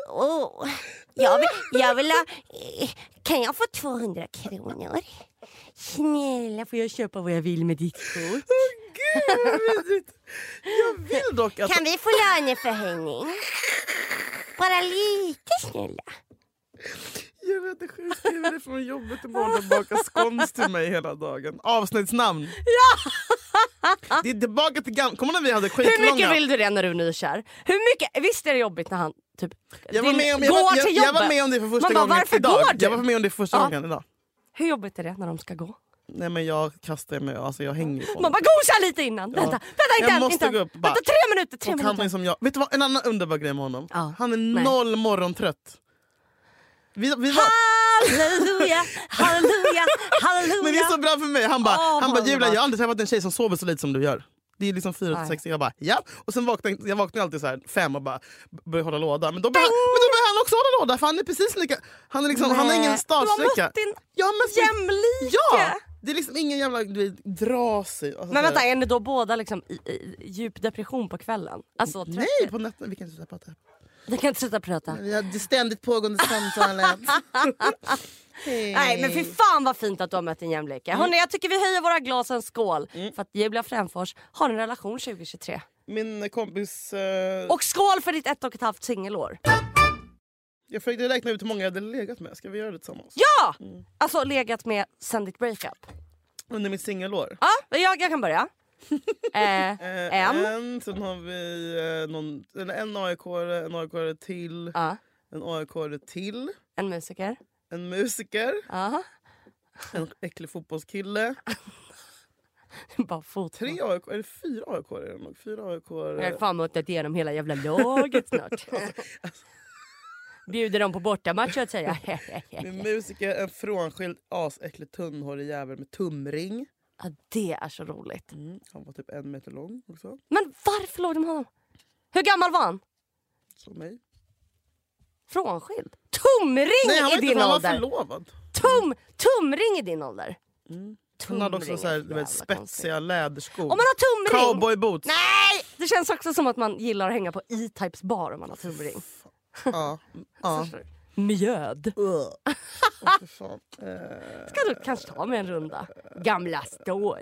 B: Och
H: Oh, jag vill, jag vill ha, eh, Kan jag få 200 kronor? Snälla, får jag köpa vad jag vill med ditt kort?
C: Jag vill dock att...
H: Kan vi få löneförhöjning? Bara lite snälla.
C: Jag vet inte, sjukskriver dig från jobbet imorgon och bakar scones till mig hela dagen. Avsnittsnamn. Ja! Det är tillbaka till gamla... Kommer du när vi hade skitlånga...
B: Hur mycket vill du det när du är nykär? Hur mycket, visst är det jobbigt när han typ,
C: jag var,
B: din-
C: med om, jag,
B: går
C: var, jag,
B: till
C: jag
B: jobbet?
C: var med om det för första
B: Man bara,
C: gången
B: varför
C: idag.
B: går du?
C: Jag var med om det för första
B: Ja.
C: gången idag.
B: Hur jobbigt är det när de ska gå?
C: Nej men jag kastar mig, alltså jag hänger på
B: Man bara gosa lite innan. Vänta, vänta inte
C: Jag
B: än,
C: måste
B: inte än.
C: gå upp, bara.
B: Vänta tre minuter, tre
C: Och han är
B: minuter.
C: som jag. Vet du vad, en annan underbar grej med honom.
B: Ja.
C: Han är
B: Nej.
C: noll morgontrött. Vi, vi var,
B: Halleluja, halleluja, halleluja.
C: men det är så bra för mig. Han bara,
B: Åh,
C: han
B: vad
C: bara Julia
B: underbart."
C: jag har aldrig träffat en tjej som sover så lite som du gör. Det är liksom fyra till
B: Nej.
C: sex. Jag bara ja. Och sen vaknar jag vaknar alltid så här fem och bara b- börjar hålla låda. Men då börjar, men då börjar han också hålla låda för han är precis lika... Han, är liksom, han har
B: Nej.
C: ingen
B: Du har
C: startsträcka.
B: mött din
C: Jag har mött min-
B: jämlike.
C: Ja! Det är liksom ingen jävla du vet, dra sig. Alltså,
B: Men
C: så här-
B: vänta, är ni då båda liksom i, i djup depression på kvällen? Alltså, trött.
C: Nej, på natten. Vi kan inte sluta prata.
B: Ni kan inte sluta prata.
C: Vi hade ständigt pågående samtalet.
B: Nej men fy fan vad fint att du har mött din jämlike.
C: Mm.
B: Hörrni jag tycker vi höjer våra glas en skål för att Julia Fränfors har en relation 2023.
C: Min kompis... eh,
B: Och skål för ditt ett och ett halvt singelår.
C: Jag försökte räkna ut hur många jag hade legat med. Ska vi göra det tillsammans?
B: Ja!
C: Mm.
B: Alltså legat med sen ditt breakup.
C: Under mitt singelår.
B: Ja, men jag, jag kan börja. eh,
C: Eh,
B: en.
C: en. Sen har vi eh, någon, eller en aik en aik till,
B: Ja,
C: en aik till,
B: en musiker.
C: en musiker,
B: Ja.
C: en äcklig fotbollskille.
B: Bara fotboll.
C: Tre AIK, eller fyra AIK är det nog. Fyra AIK.
B: Jag har fan mutat igenom hela jävla laget snart.
C: Alltså.
B: Bjuder dem på bortamatch att säga.
C: En musiker, en frånskild asäcklig tunnhårig jävel med tumring.
B: ja, det är så roligt.
C: Han var typ en meter lång också,
B: Men varför låg de med honom? Hur gammal var han?
C: som mig.
B: Frånskild? Tumring
C: Nej, han var,
B: i
C: inte,
B: din
C: han var
B: ålder!
C: förlovad.
B: Tum, tumring i din ålder!
C: Mm. Hon hade också
B: Tumring
C: så här,
B: är
C: du
B: jävla
C: vet,
B: konstigt.
C: spetsiga läderskor.
B: Om man har tumring!
C: Cowboyboots.
B: Nej! Det känns också som att man gillar att hänga på E-Types bar om man har tumring.
C: Ja. ja.
B: Mjöd.
C: Åh, fy fan. Eh,
B: Ska du kanske ta med en runda? Gamla stan.
C: oh,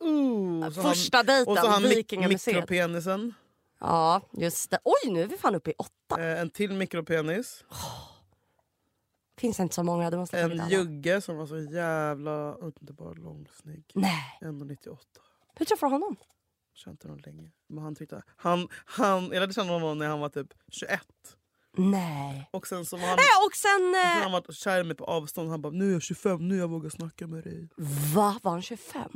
C: så har han-
B: Första dejten,
C: Och så har han mik-
B: Vikingamuseet.
C: mikropenisen.
B: Ja, just det. Oj, nu är vi fan uppe i åtta.
C: Eh, en till mikropenis.
B: Finns inte så många. Du måste ta lite
C: En
B: alla.
C: jugge som var så jävla underbar lång snygg.
B: Nej.
C: 1,98.
B: Hur träffade du honom?
C: Känt honom länge. Men han tyckte... Han, han, jag lärde känna honom när han var typ 21.
B: Nej.
C: Och sen så var han...
B: Nej, och sen...
C: sen har
B: Eh,
C: han varit kär i mig på avstånd. Han bara nu är jag 25, nu jag vågar snacka med dig.
B: va? Var han 25?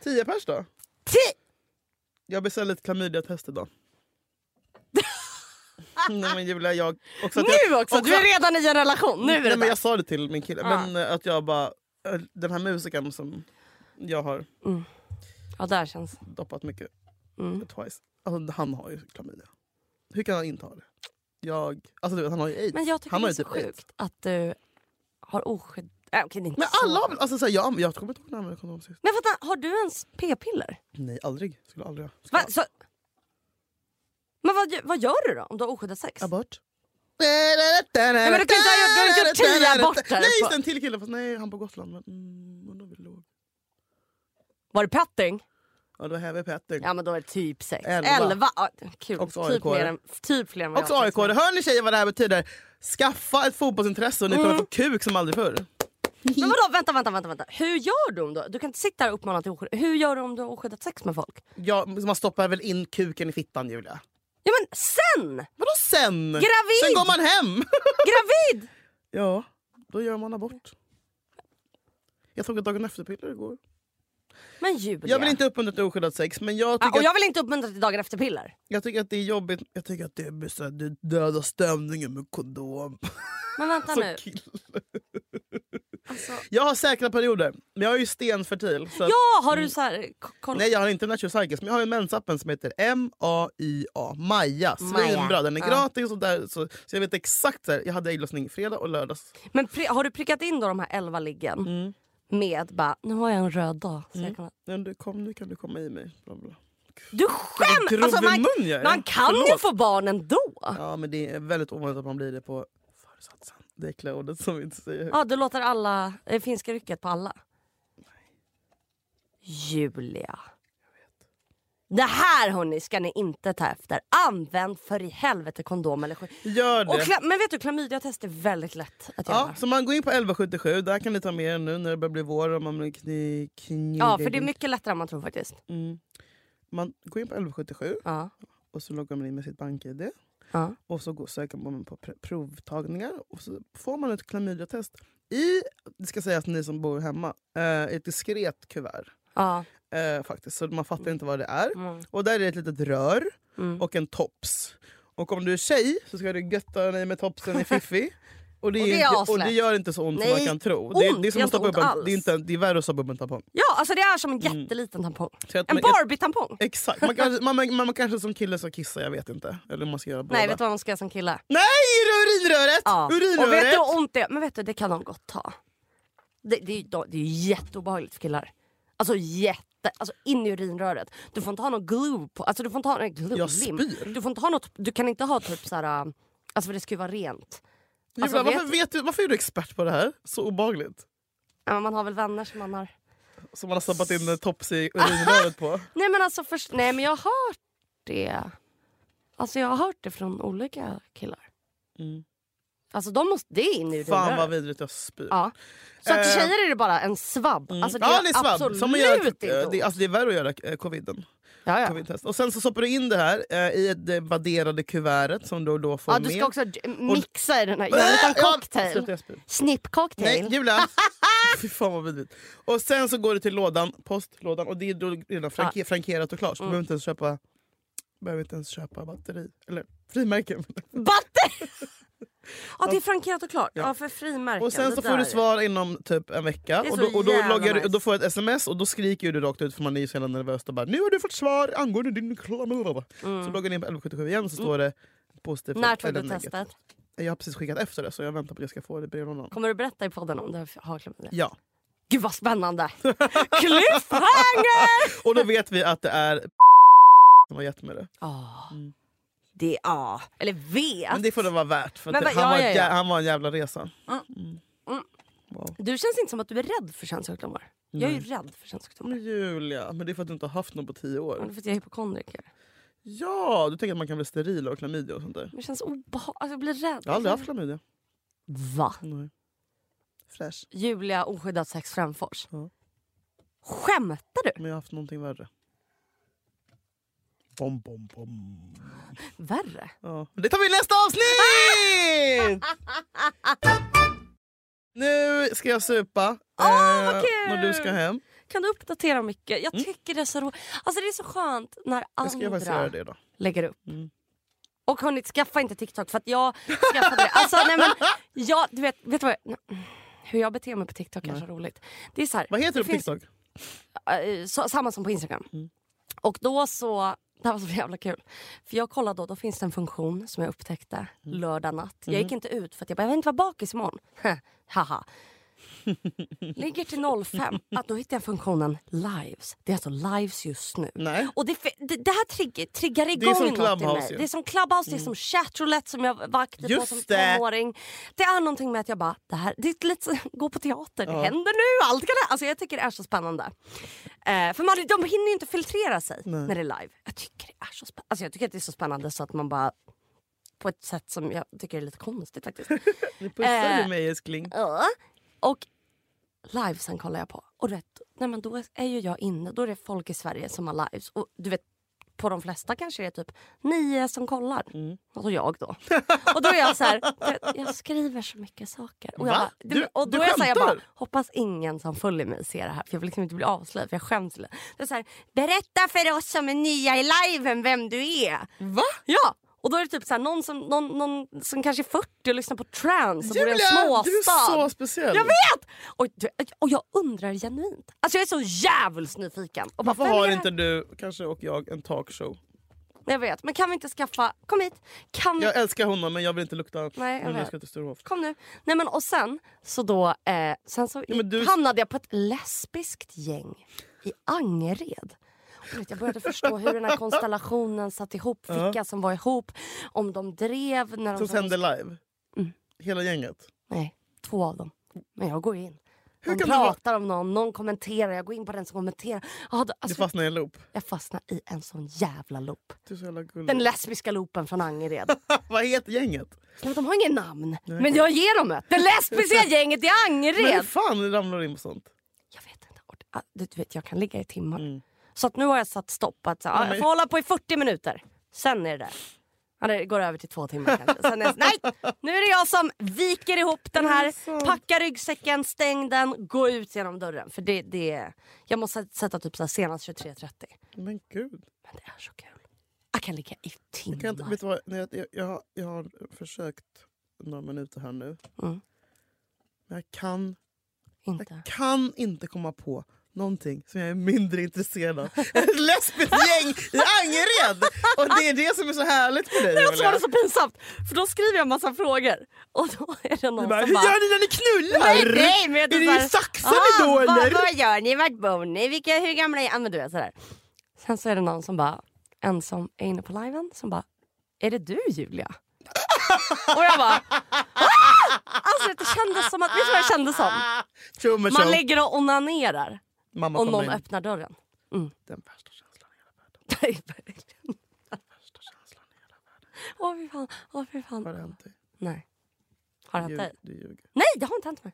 C: 10 pers då?
B: Ti-
C: Jag beställde ett klamydiatest idag. Nej men Julia, jag... Också att
B: Nu
C: jag,
B: också! Du är redan i en relation. Nu är det
C: Nej, men
B: där.
C: Jag sa det till min kille,
B: Ja.
C: men eh, att jag bara... eh, Den här musikern som jag har
B: Ja, där känns...
C: doppat mycket,
B: Mm.
C: twice, alltså, han har ju klamydia. Hur kan han inte ha det? Jag, alltså, du vet, han har ju aids.
B: Men jag tycker
C: han
B: det
C: har
B: är
C: ju
B: så
C: typ aids.
B: sjukt att du har oskydd... Äh, okej, det är inte
C: Men alla har
B: så.
C: väl- alltså, så här, jag, jag kommer inte ihåg när jag använde kondom sist.
B: Men vänta, har du ens p-piller?
C: Nej, aldrig. Skulle aldrig ha. Ska
B: Va, så... Men vad, gö- vad gör du då om du har oskyddat sex?
C: Abort.
B: men du kan inte ha gjort- du har inte gjort tio aborter
C: Nej, just
B: på-
C: det, en till kille. Fast nej, han på Gotland. Men, mm, undrar om vi låg.
B: Var det petting?
C: Ja, det var Heavy Petting.
B: Ja men då är det typ sex.
C: Elva.
B: Elva. Ja, kul.
C: Också
B: typ,
C: AIK-are.
B: mer än, typ fler än vad
C: Också
B: jag har
C: AIK.
B: sex med.
C: Hör ni tjejer vad det här betyder? Skaffa ett fotbollsintresse och ni
B: Mm.
C: kommer få kuk som aldrig förr.
B: Men vadå vänta, vänta, vänta, vänta. Hur gör du om du... Du kan inte sitta här och uppmana till oskyddat. Hur gör du om du har oskyddat sex med folk?
C: Ja, man stoppar väl in kuken i fittan Julia?
B: Ja men sen!
C: Vadå sen?
B: Gravid!
C: Sen går man hem!
B: Gravid!
C: ja, då gör man abort. Jag tog ett dagen efter-piller igår.
B: Men Julia.
C: Jag vill inte uppmuntra till oskyddat sex men jag
B: Ja,
C: tycker,
B: Ah, och jag
C: att,
B: vill inte uppmuntra till dagen efter piller.
C: jag tycker att det är jobbigt. Jag tycker att det är så här, det dödar stämningen med kondom.
B: Men vänta
C: Som
B: nu.
C: kille. Jag har säkra perioder, men jag är ju stenfertil. Så att- Mm.
B: Ja, har du så här... k- Koll...
C: Nej jag har inte Natural Cycles men jag har ju mensappen som heter M-A-Y-A. Maja. Svinbra.
B: Maja.
C: Den är
B: Ja.
C: gratis och där, så, så jag vet exakt. Så här, jag hade ägglossning fredag och lördags.
B: Men pri- har du prickat in då de här elva liggen?
C: Mm.
B: Med bara, nu har jag en röd dag. Så jag kan...
C: Men Mm. du, kom, nu kan du komma i mig. Bla bla.
B: Du
C: Vilken
B: skämtar! Alltså,
C: grov
B: man,
C: mun jag är.
B: man kan ju
C: Förlåt.
B: få barn ändå. Ja,
C: Ja, men det är väldigt ovanligt att man blir det på föresatsen. Det är kläordet som vi inte säger.
B: du låter alla eh, finska rycket på alla. Julia. Det här hörni ska ni inte ta efter. Använd för i helvete kondom eller skydd.
C: Gör
B: Och
C: det!
B: kla- men vet du, klamydiatest är väldigt lätt att göra.
C: Ja, så man går in på 1177, där kan ni ta med er nu när det börjar bli vår. Och man, blir kny, kny,
B: Ja, för det är mycket lättare än man tror faktiskt.
C: Mm. Man går in på 1177
B: Ja.
C: och så loggar man in med sitt bank-id.
B: Ja.
C: Och så går, söker man på pr- provtagningar och så får man ett klamydiatest. I, det ska sägas ni som bor hemma, eh, ett diskret kuvert.
B: Ja.
C: Eh, faktiskt, så man fattar inte vad det är.
B: Mm.
C: Och där är det ett litet rör
B: Mm.
C: och en tops. Och om du är tjej så ska du götta dig med topsen i fiffi. Och det,
B: Och
C: är
B: det är
C: inte, och
B: aslätt.
C: det gör inte så ont som
B: Nej,
C: man kan tro. Det, är-
B: ont
C: det, är som
B: gör
C: att stoppa upp
B: inte ont
C: en, det, är
B: alls.
C: inte, det är värre att stoppa upp en tampong.
B: ja, alltså det är som en jätteliten tampong.
C: Mm. Så att
B: En
C: man- jag-
B: Barbie-tampong.
C: Exakt. Man kanske, man, man, man kanske som kille ska kissa, jag vet inte. Eller man ska göra båda.
B: Nej, vet du vad man ska göra som kille?
C: Nej, i urinröret!
B: Ja.
C: urinröret!
B: Och vet du hur ont det är? Men vet du, det kan de gott ta. Det, det, är, ju- det är ju jätteobehagligt för killar. Alltså jätte... Alltså in i urinröret. Du får inte ha någon glue på... Alltså du får inte ha... Nej, glue,
C: Jag
B: lim.
C: spyr.
B: Du får inte ha något... Du kan inte ha typ såhär... äh, Alltså för det ska ju vara rent.
C: Julia,
B: alltså,
C: varför,
B: vet-
C: vet du, varför är du expert på det här? Så obagligt.
B: Ja, men Man har väl vänner som man har...
C: Som man har stoppat in en tops i urinröret på.
B: Nej men alltså först... Nej men jag har hört det. Alltså jag har hört det från olika killar.
C: Mm.
B: Alltså de måste... Det är in i urinröret.
C: Fan vad vidrigt, jag spyr.
B: Ja. Så att
C: Eh.
B: tjejer är det bara en svabb.
C: Mm.
B: Alltså det
C: ja,
B: är
C: det är svabb.
B: absolut
C: Som man gör,
B: inte
C: det,
B: ont.
C: alltså, det är värre att göra eh, coviden.
B: ja, ja.
C: Covidtest. Och sen så stoppar du in det här eh, i det vadderade kuvertet som du och då får
B: Ja,
C: med.
B: du ska också j- mixa i den här, göra en liten
C: Ja,
B: cocktail.
C: sluta, jag spyr. Nej,
B: Snippcocktail.
C: Julia! Fy fan vad vidrigt. Och sen så går du till lådan, postlådan, och det är då redan franke, frankerat och
B: Mm.
C: klart. Så du behöver inte ens köpa, behöver inte ens köpa batteri. Eller frimärken.
B: Batter! Ja, det är frankerat och klart. Ja, för frimärken.
C: Och sen
B: det
C: så får
B: där.
C: du svar inom typ en vecka.
B: Det är
C: Och
B: så
C: då, och då,
B: jävla
C: loggar, du-
B: nice.
C: då får du ett sms och då skriker du rakt ut för man är ju så jävla nervös. Och bara, nu har du fått svar angående din klamydia. Så loggar du in på 1177 igen så står det positivt
B: Mm. När tog
C: eller
B: du
C: negativt.
B: testet?
C: Jag har precis skickat efter det så jag väntar på att jag ska få det i brevlådan.
B: Kommer du berätta i podden om du har klamydia?
C: Ja.
B: Gud vad spännande! Cliffhanger!
C: Och då vet vi att det är som har gett mig det.
B: Ja. Mm. Det är A. Eller V.
C: Men det får det vara värt för att
B: Men
C: det,
B: vad-
C: han,
B: ja,
C: var
B: ja,
C: ett
B: ja.
C: jä- han var en jävla resa.
B: Du känns inte som att du är rädd för könssjukdomar. Jag är ju rädd för könssjukdomar.
C: Men Julia, men det är för att du inte har haft någon på tio
B: Ja, det är
C: år.
B: för att jag är hypokondriker.
C: Ja, du tänker att man kan bli steril av klamydia och sånt där.
B: Men det känns obehagligt. Alltså, jag blir rädd.
C: Jag har aldrig haft klamydia.
B: Va?
C: Nej. Fräsch.
B: Julia oskyddat sex framförs.
C: Ja.
B: Skämtar du?
C: Men jag har haft någonting värre. Bom, bom, bom.
B: Värre?
C: Ja. Det tar vi i nästa avsnitt! nu ska jag supa.
B: Åh, vad
C: eh,
B: kul!
C: När du ska hem.
B: Kan du uppdatera mycket? Jag tycker det är så roligt. Alltså det är så skönt när
C: Mm. Jag ska jag faktiskt göra
B: andra
C: det då.
B: lägger upp.
C: Mm.
B: Och hörni, skaffa inte TikTok för att jag skaffade det. Alltså, nej, men, jag, du vet, vet du vad jag, nej, hur jag beter mig på TikTok är så roligt. Det är så här,
C: Vad heter
B: det
C: du på TikTok?
B: eh, så, samma som på Instagram.
C: Mm.
B: Och då så, det här var så jävla kul. För jag kollade då, då finns det en funktion som jag upptäckte
C: Mm.
B: lördag natt. Jag gick inte ut för att jag bara, jag vill inte vara bakis imorgon. Haha. Ligger till 05. Att då hittade jag funktionen lives. Det är alltså lives just nu.
C: Nej.
B: Och det, fi- det, det här trigg, triggar igång
C: Det är som
B: något i
C: Clubhouse
B: mig.
C: ju.
B: Det är som Clubhouse, det är som chatroulette som jag vaktade på
C: Mm. Just
B: som
C: det.
B: tonåring. Det är någonting med att jag bara, det här, det är lite, som- gå på teater, det händer nu, allt kan hända. Alltså jag tycker det är så spännande. Eh, för man, de hinner ju inte filtrera sig när det är live. Jag tycker det är så spännande. Alltså jag tycker att det är så spännande så att man bara, på ett sätt som jag tycker är lite konstigt faktiskt.
C: Nu pussar
B: Eh.
C: du mig älskling.
B: Ja. Och livesen kollar jag på. Och rätt, nej men då är ju jag inne. Då är det folk i Sverige som har lives. Och du vet, på de flesta kanske det är typ nio som kollar.
C: Mm.
B: Och så jag då. Och då är jag så här, jag, jag skriver så mycket saker. Och, jag
C: Va?
B: bara,
C: Du-
B: och då
C: du
B: är jag, så här, jag bara,
C: skämtar?
B: hoppas ingen som följer mig ser det här. För jag vill liksom inte bli avslöjad, för jag skäms lite. Det är så här, berätta för oss som är nya i liven vem du är.
C: Va?
B: Ja! Och då är det typ så här, någon, som, någon, någon som kanske är 40 och lyssnar på trance och bor i en
C: Julia, du är
B: småstad.
C: så speciell.
B: Jag vet! Och, du- och jag undrar genuint. Alltså jag är så djävulskt nyfiken. Och bara,
C: Varför
B: vem är Mm.
C: har
B: det
C: inte
B: här?
C: du, kanske och jag, en talkshow?
B: Jag vet, men kan vi inte skaffa... Kom hit! Kan vi...
C: Jag älskar honom men jag vill inte lukta
B: Nej, jag
C: nu när
B: vet.
C: jag ska till Sturehof.
B: Kom nu. Nej men och sen så då... Eh, sen så
C: Ja, men du-
B: hamnade jag på ett lesbiskt gäng i Angered. jäkligt. Jag började förstå hur den här konstellationen satt ihop, vilka som var ihop, om de drev. När de
C: Som
B: satt och-
C: sänder live?
B: Mm.
C: Hela gänget?
B: Nej, två av dem. Men jag går in. De
C: kan det vara-
B: pratar om någon, någon kommenterar, jag går in på den som kommenterar. Ah, då,
C: Du
B: alltså,
C: fastnar i en loop.
B: Jag fastnar i en sån jävla loop.
C: Du är så jävla gullig.
B: Den lesbiska loopen från Angered.
C: Vad heter gänget?
B: Nej, de har ingen namn, men jag ger dem ett. Det lesbiska gänget i
C: Men hur
B: Angered!
C: fan ramlar du in på sånt?
B: Jag vet inte. ord- ah, Du du vet, jag kan ligga i timmar.
C: Mm.
B: Så att nu har jag satt stopp. Att, så, ah, jag får hålla på i 40 minuter. Sen är det där. Ja, det går över till två timmar kanske. Sen är det, nej! Nu är det jag som viker ihop den här, packar ryggsäcken, stäng den, gå ut genom dörren. För det, det är, Jag måste sätta typ så här senast 23.30.
C: Men gud.
B: Men det är så kul. Jag kan ligga i timmar.
C: Kan jag, inte- vet du vad, Nej, jag, jag, jag, har- jag har försökt några minuter här nu.
B: Mm.
C: Men jag kan,
B: Inte.
C: jag kan inte komma på någonting som jag är mindre intresserad av. Ett lesbiskt gäng i Angered! Och det är det som är så härligt med dig.
B: Det är också var Alltså, det
C: Emilia.
B: så pinsamt. För då skriver jag en massa frågor. Och då är det någon
C: Du bara,
B: som
C: hur
B: bara...
C: gör ni när ni knullar?
B: nej, men jag
C: är
B: typ
C: ni
B: såhär,
C: i saxar då
B: "Ah,
C: eller?
B: Vad, vad gör ni? Vart bor ni? Vilka, hur gamla är ni? Men du vet sådär. Sen så är det någon som bara, en som är inne på liven som bara, är det du Julia? och jag bara, ah! Alltså det kändes som att, vet du vad det kändes som?
C: Trummor
B: Man
C: show.
B: ligger och onanerar
C: Mamma
B: och
C: kom
B: någon
C: in.
B: öppnar dörren.
C: Den värsta känslan i hela världen.
B: Det är verkligen-
C: Värsta känslan i hela världen.
B: Åh fy fan, åh fy
C: Vad har det
B: fan.
C: hänt dig?
B: Nej. Har det hänt dig?
C: Ljug- Du ljuger.
B: Nej, det har inte hänt mig.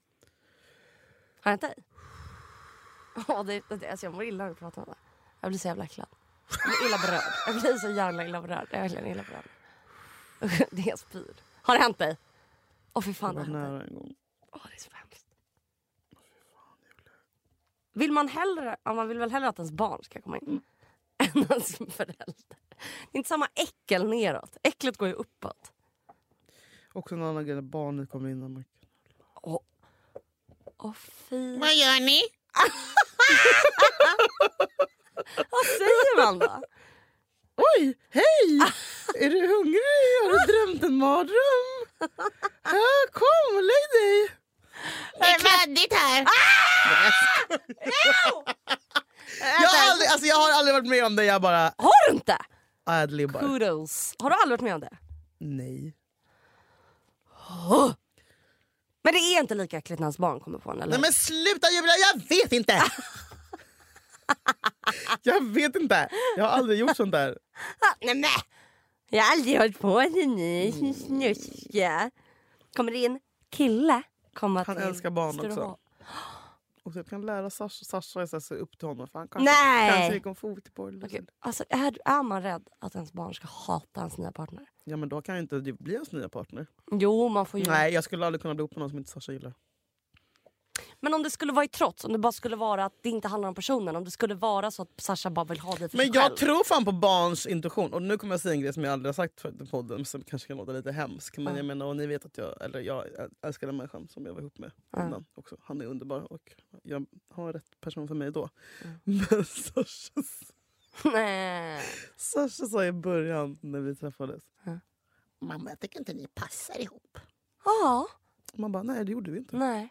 B: Har det hänt dig? Ja, det, det, alltså jag mår illa när du pratar om det. Jag blir så jävla äcklad. Jag blir illa berörd. Jag blir så jävla illa berörd. Jag är verkligen illa berörd. Usch, Det är jag spyr. Har det hänt dig? Åh fy fan,
C: Jag
B: det
C: var
B: har hänt dig.
C: nära en gång.
B: Åh, det är så hemskt. Vill man hellre, ja, man vill väl hellre att ens barn ska komma in än ens förälder. Det är inte samma äckel neråt. Äcklet går ju uppåt.
C: Också en annan grej när barnet kommer in. och man-
B: Åh, åh fy.
H: Vad gör ni?
B: Vad säger man då?
C: Oj, hej! Är du hungrig? Har du drömt en mardröm? Ja, kom, lägg dig!
H: Det är kladdigt här.
C: Jag har aldrig, alltså, jag har aldrig varit med om det. Jag bara
B: Har du inte?
C: adlibbar.
B: Kudos. Har du aldrig varit med om det?
C: Nej.
B: Men det är inte lika äckligt när hans barn kommer på en eller
C: Nej
B: hur?
C: men sluta Julia, jag vet inte! Jag vet inte. Jag har aldrig gjort sånt där.
H: Nej, men.
B: Jag har aldrig hållit på med ni snuskiga. Kommer det in kille? Komma
C: Han
B: till
C: älskar barn
B: Sturehof.
C: också. Och jag kan lära Sasha, Sasha jag ser upp till honom. För han kanske,
B: Nej.
C: kanske gick om fotboll.
B: Gud, Alltså, är, är man rädd att ens barn ska hata ens nya partner?
C: Ja men då kan ju inte det bli ens nya partner.
B: Jo, man får ju...
C: Nej jag skulle aldrig kunna bli ihop med någon som inte Sasha gillar.
B: Men om det skulle vara i trots, om det bara skulle vara att det inte handlar om personen. Om det skulle vara så att Sasha bara vill ha dig för
C: Men
B: sig
C: jag
B: själv.
C: tror fan på barns intuition. Och nu kommer jag säga en grej som jag aldrig har sagt förut i podden som kanske kan låta lite hemsk. Men jag menar, och ni vet att jag, eller jag älskar den människan som jag var ihop med innan också. Han är underbar och jag har rätt person för mig då. Men Sasha,
B: Nej.
C: Sasha sa i början när vi träffades.
H: Mamma, jag tycker inte ni passar ihop.
B: Ja,
C: Man bara, nej det gjorde vi inte.
B: nej.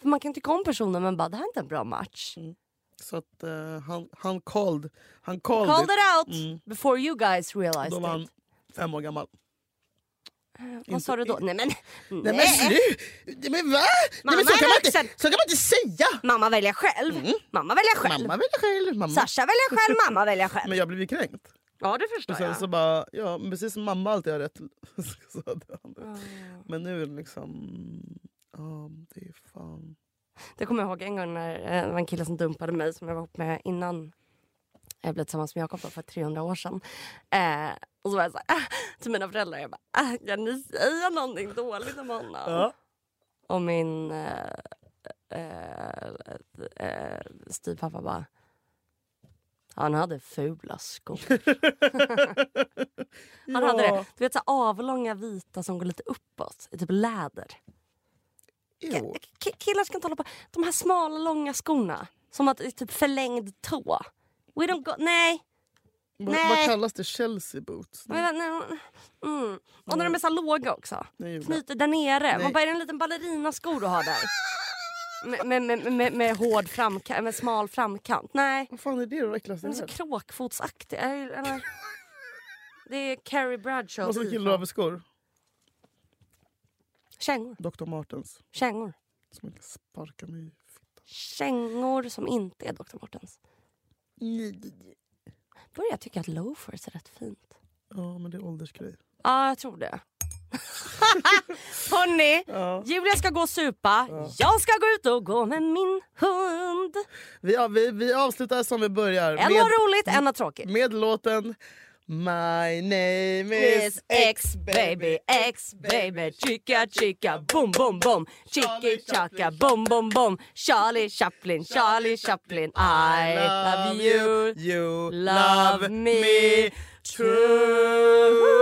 B: För man kan tycka om personen men bara det här är inte en bra match.
C: Mm. Så att eh, han, han called. Han called,
B: Called
C: it.
B: it out
C: Mm.
B: before you guys realized
C: Då var han
B: it.
C: fem år gammal.
B: Eh, Vad sa du då? Nej men,
C: Nej, men sluta! Men va? Nej,
B: Mamma
C: men så,
B: är
C: kan man inte,
B: vuxen.
C: så kan man inte säga!
B: mamma väljer själv. Mamma väljer själv.
C: Mm. Mamma väljer själv. Mamma.
B: Sasha väljer själv, mamma väljer själv.
C: Men jag blev ju kränkt.
B: Ja det
C: Och
B: förstår
C: sen
B: jag.
C: så bara, ja, men precis som mamma alltid har rätt så hade han det.
B: Ah.
C: Men nu är det liksom... Ja, det är fan...
B: Det kommer jag ihåg en gång när eh, det var en kille som dumpade mig som jag var ihop med innan jag blev tillsammans med Jakob då för 300 år sedan. Eh, och så var jag så här, ah, till mina föräldrar, jag bara, ah, kan ni säga någonting dåligt om honom? Och min eh, eh, eh, styvpappa bara, han hade fula skor. han hade det. Du vet så här, avlånga vita som går lite uppåt, i typ läder.
C: Jo.
B: K- killar ska inte hålla på. De här smala, långa skorna. Som att det är typ förlängd tå. We don't go... Nej.
C: Vad,
B: Nej.
C: vad kallas det? Chelsea boots?
B: Men, nej. Mm. Och när de är så här låga också.
C: Nej, Julia.
B: Knyter där nere.
C: Nej.
B: Man bara, är det en liten ballerinasko du har där? Med, med, med, med, med hård framkant, med smal framkant. Nej,
C: Vad fan är det då? Det äckligaste
B: den
C: jag
B: är så
C: vet.
B: kråkfotsaktig. Eller- eller- Det är Carrie Bradshaw.
C: Vad som killar över skor?
B: Kängor.
C: Dr. Martens.
B: Kängor.
C: Som inte sparkar mig.
B: Kängor som inte är Dr. Martens. Börjar jag tycka att loafers är rätt fint.
C: Ja, men det är åldersgrej.
B: Ja, jag tror det. Hörni, Julia ska gå och supa. Jag ska gå ut och gå med min hund.
C: Vi, av- vi, vi avslutar som vi börjar.
B: En
C: med,
B: var roligt, en var tråkigt.
C: med låten My name
B: Miss
C: is X
B: X-baby,
C: baby
B: X-baby Chica chica, boom boom boom Chicky chaka, boom boom boom Charlie Chaplin, Charlie Chaplin I love you,
C: You
B: love me true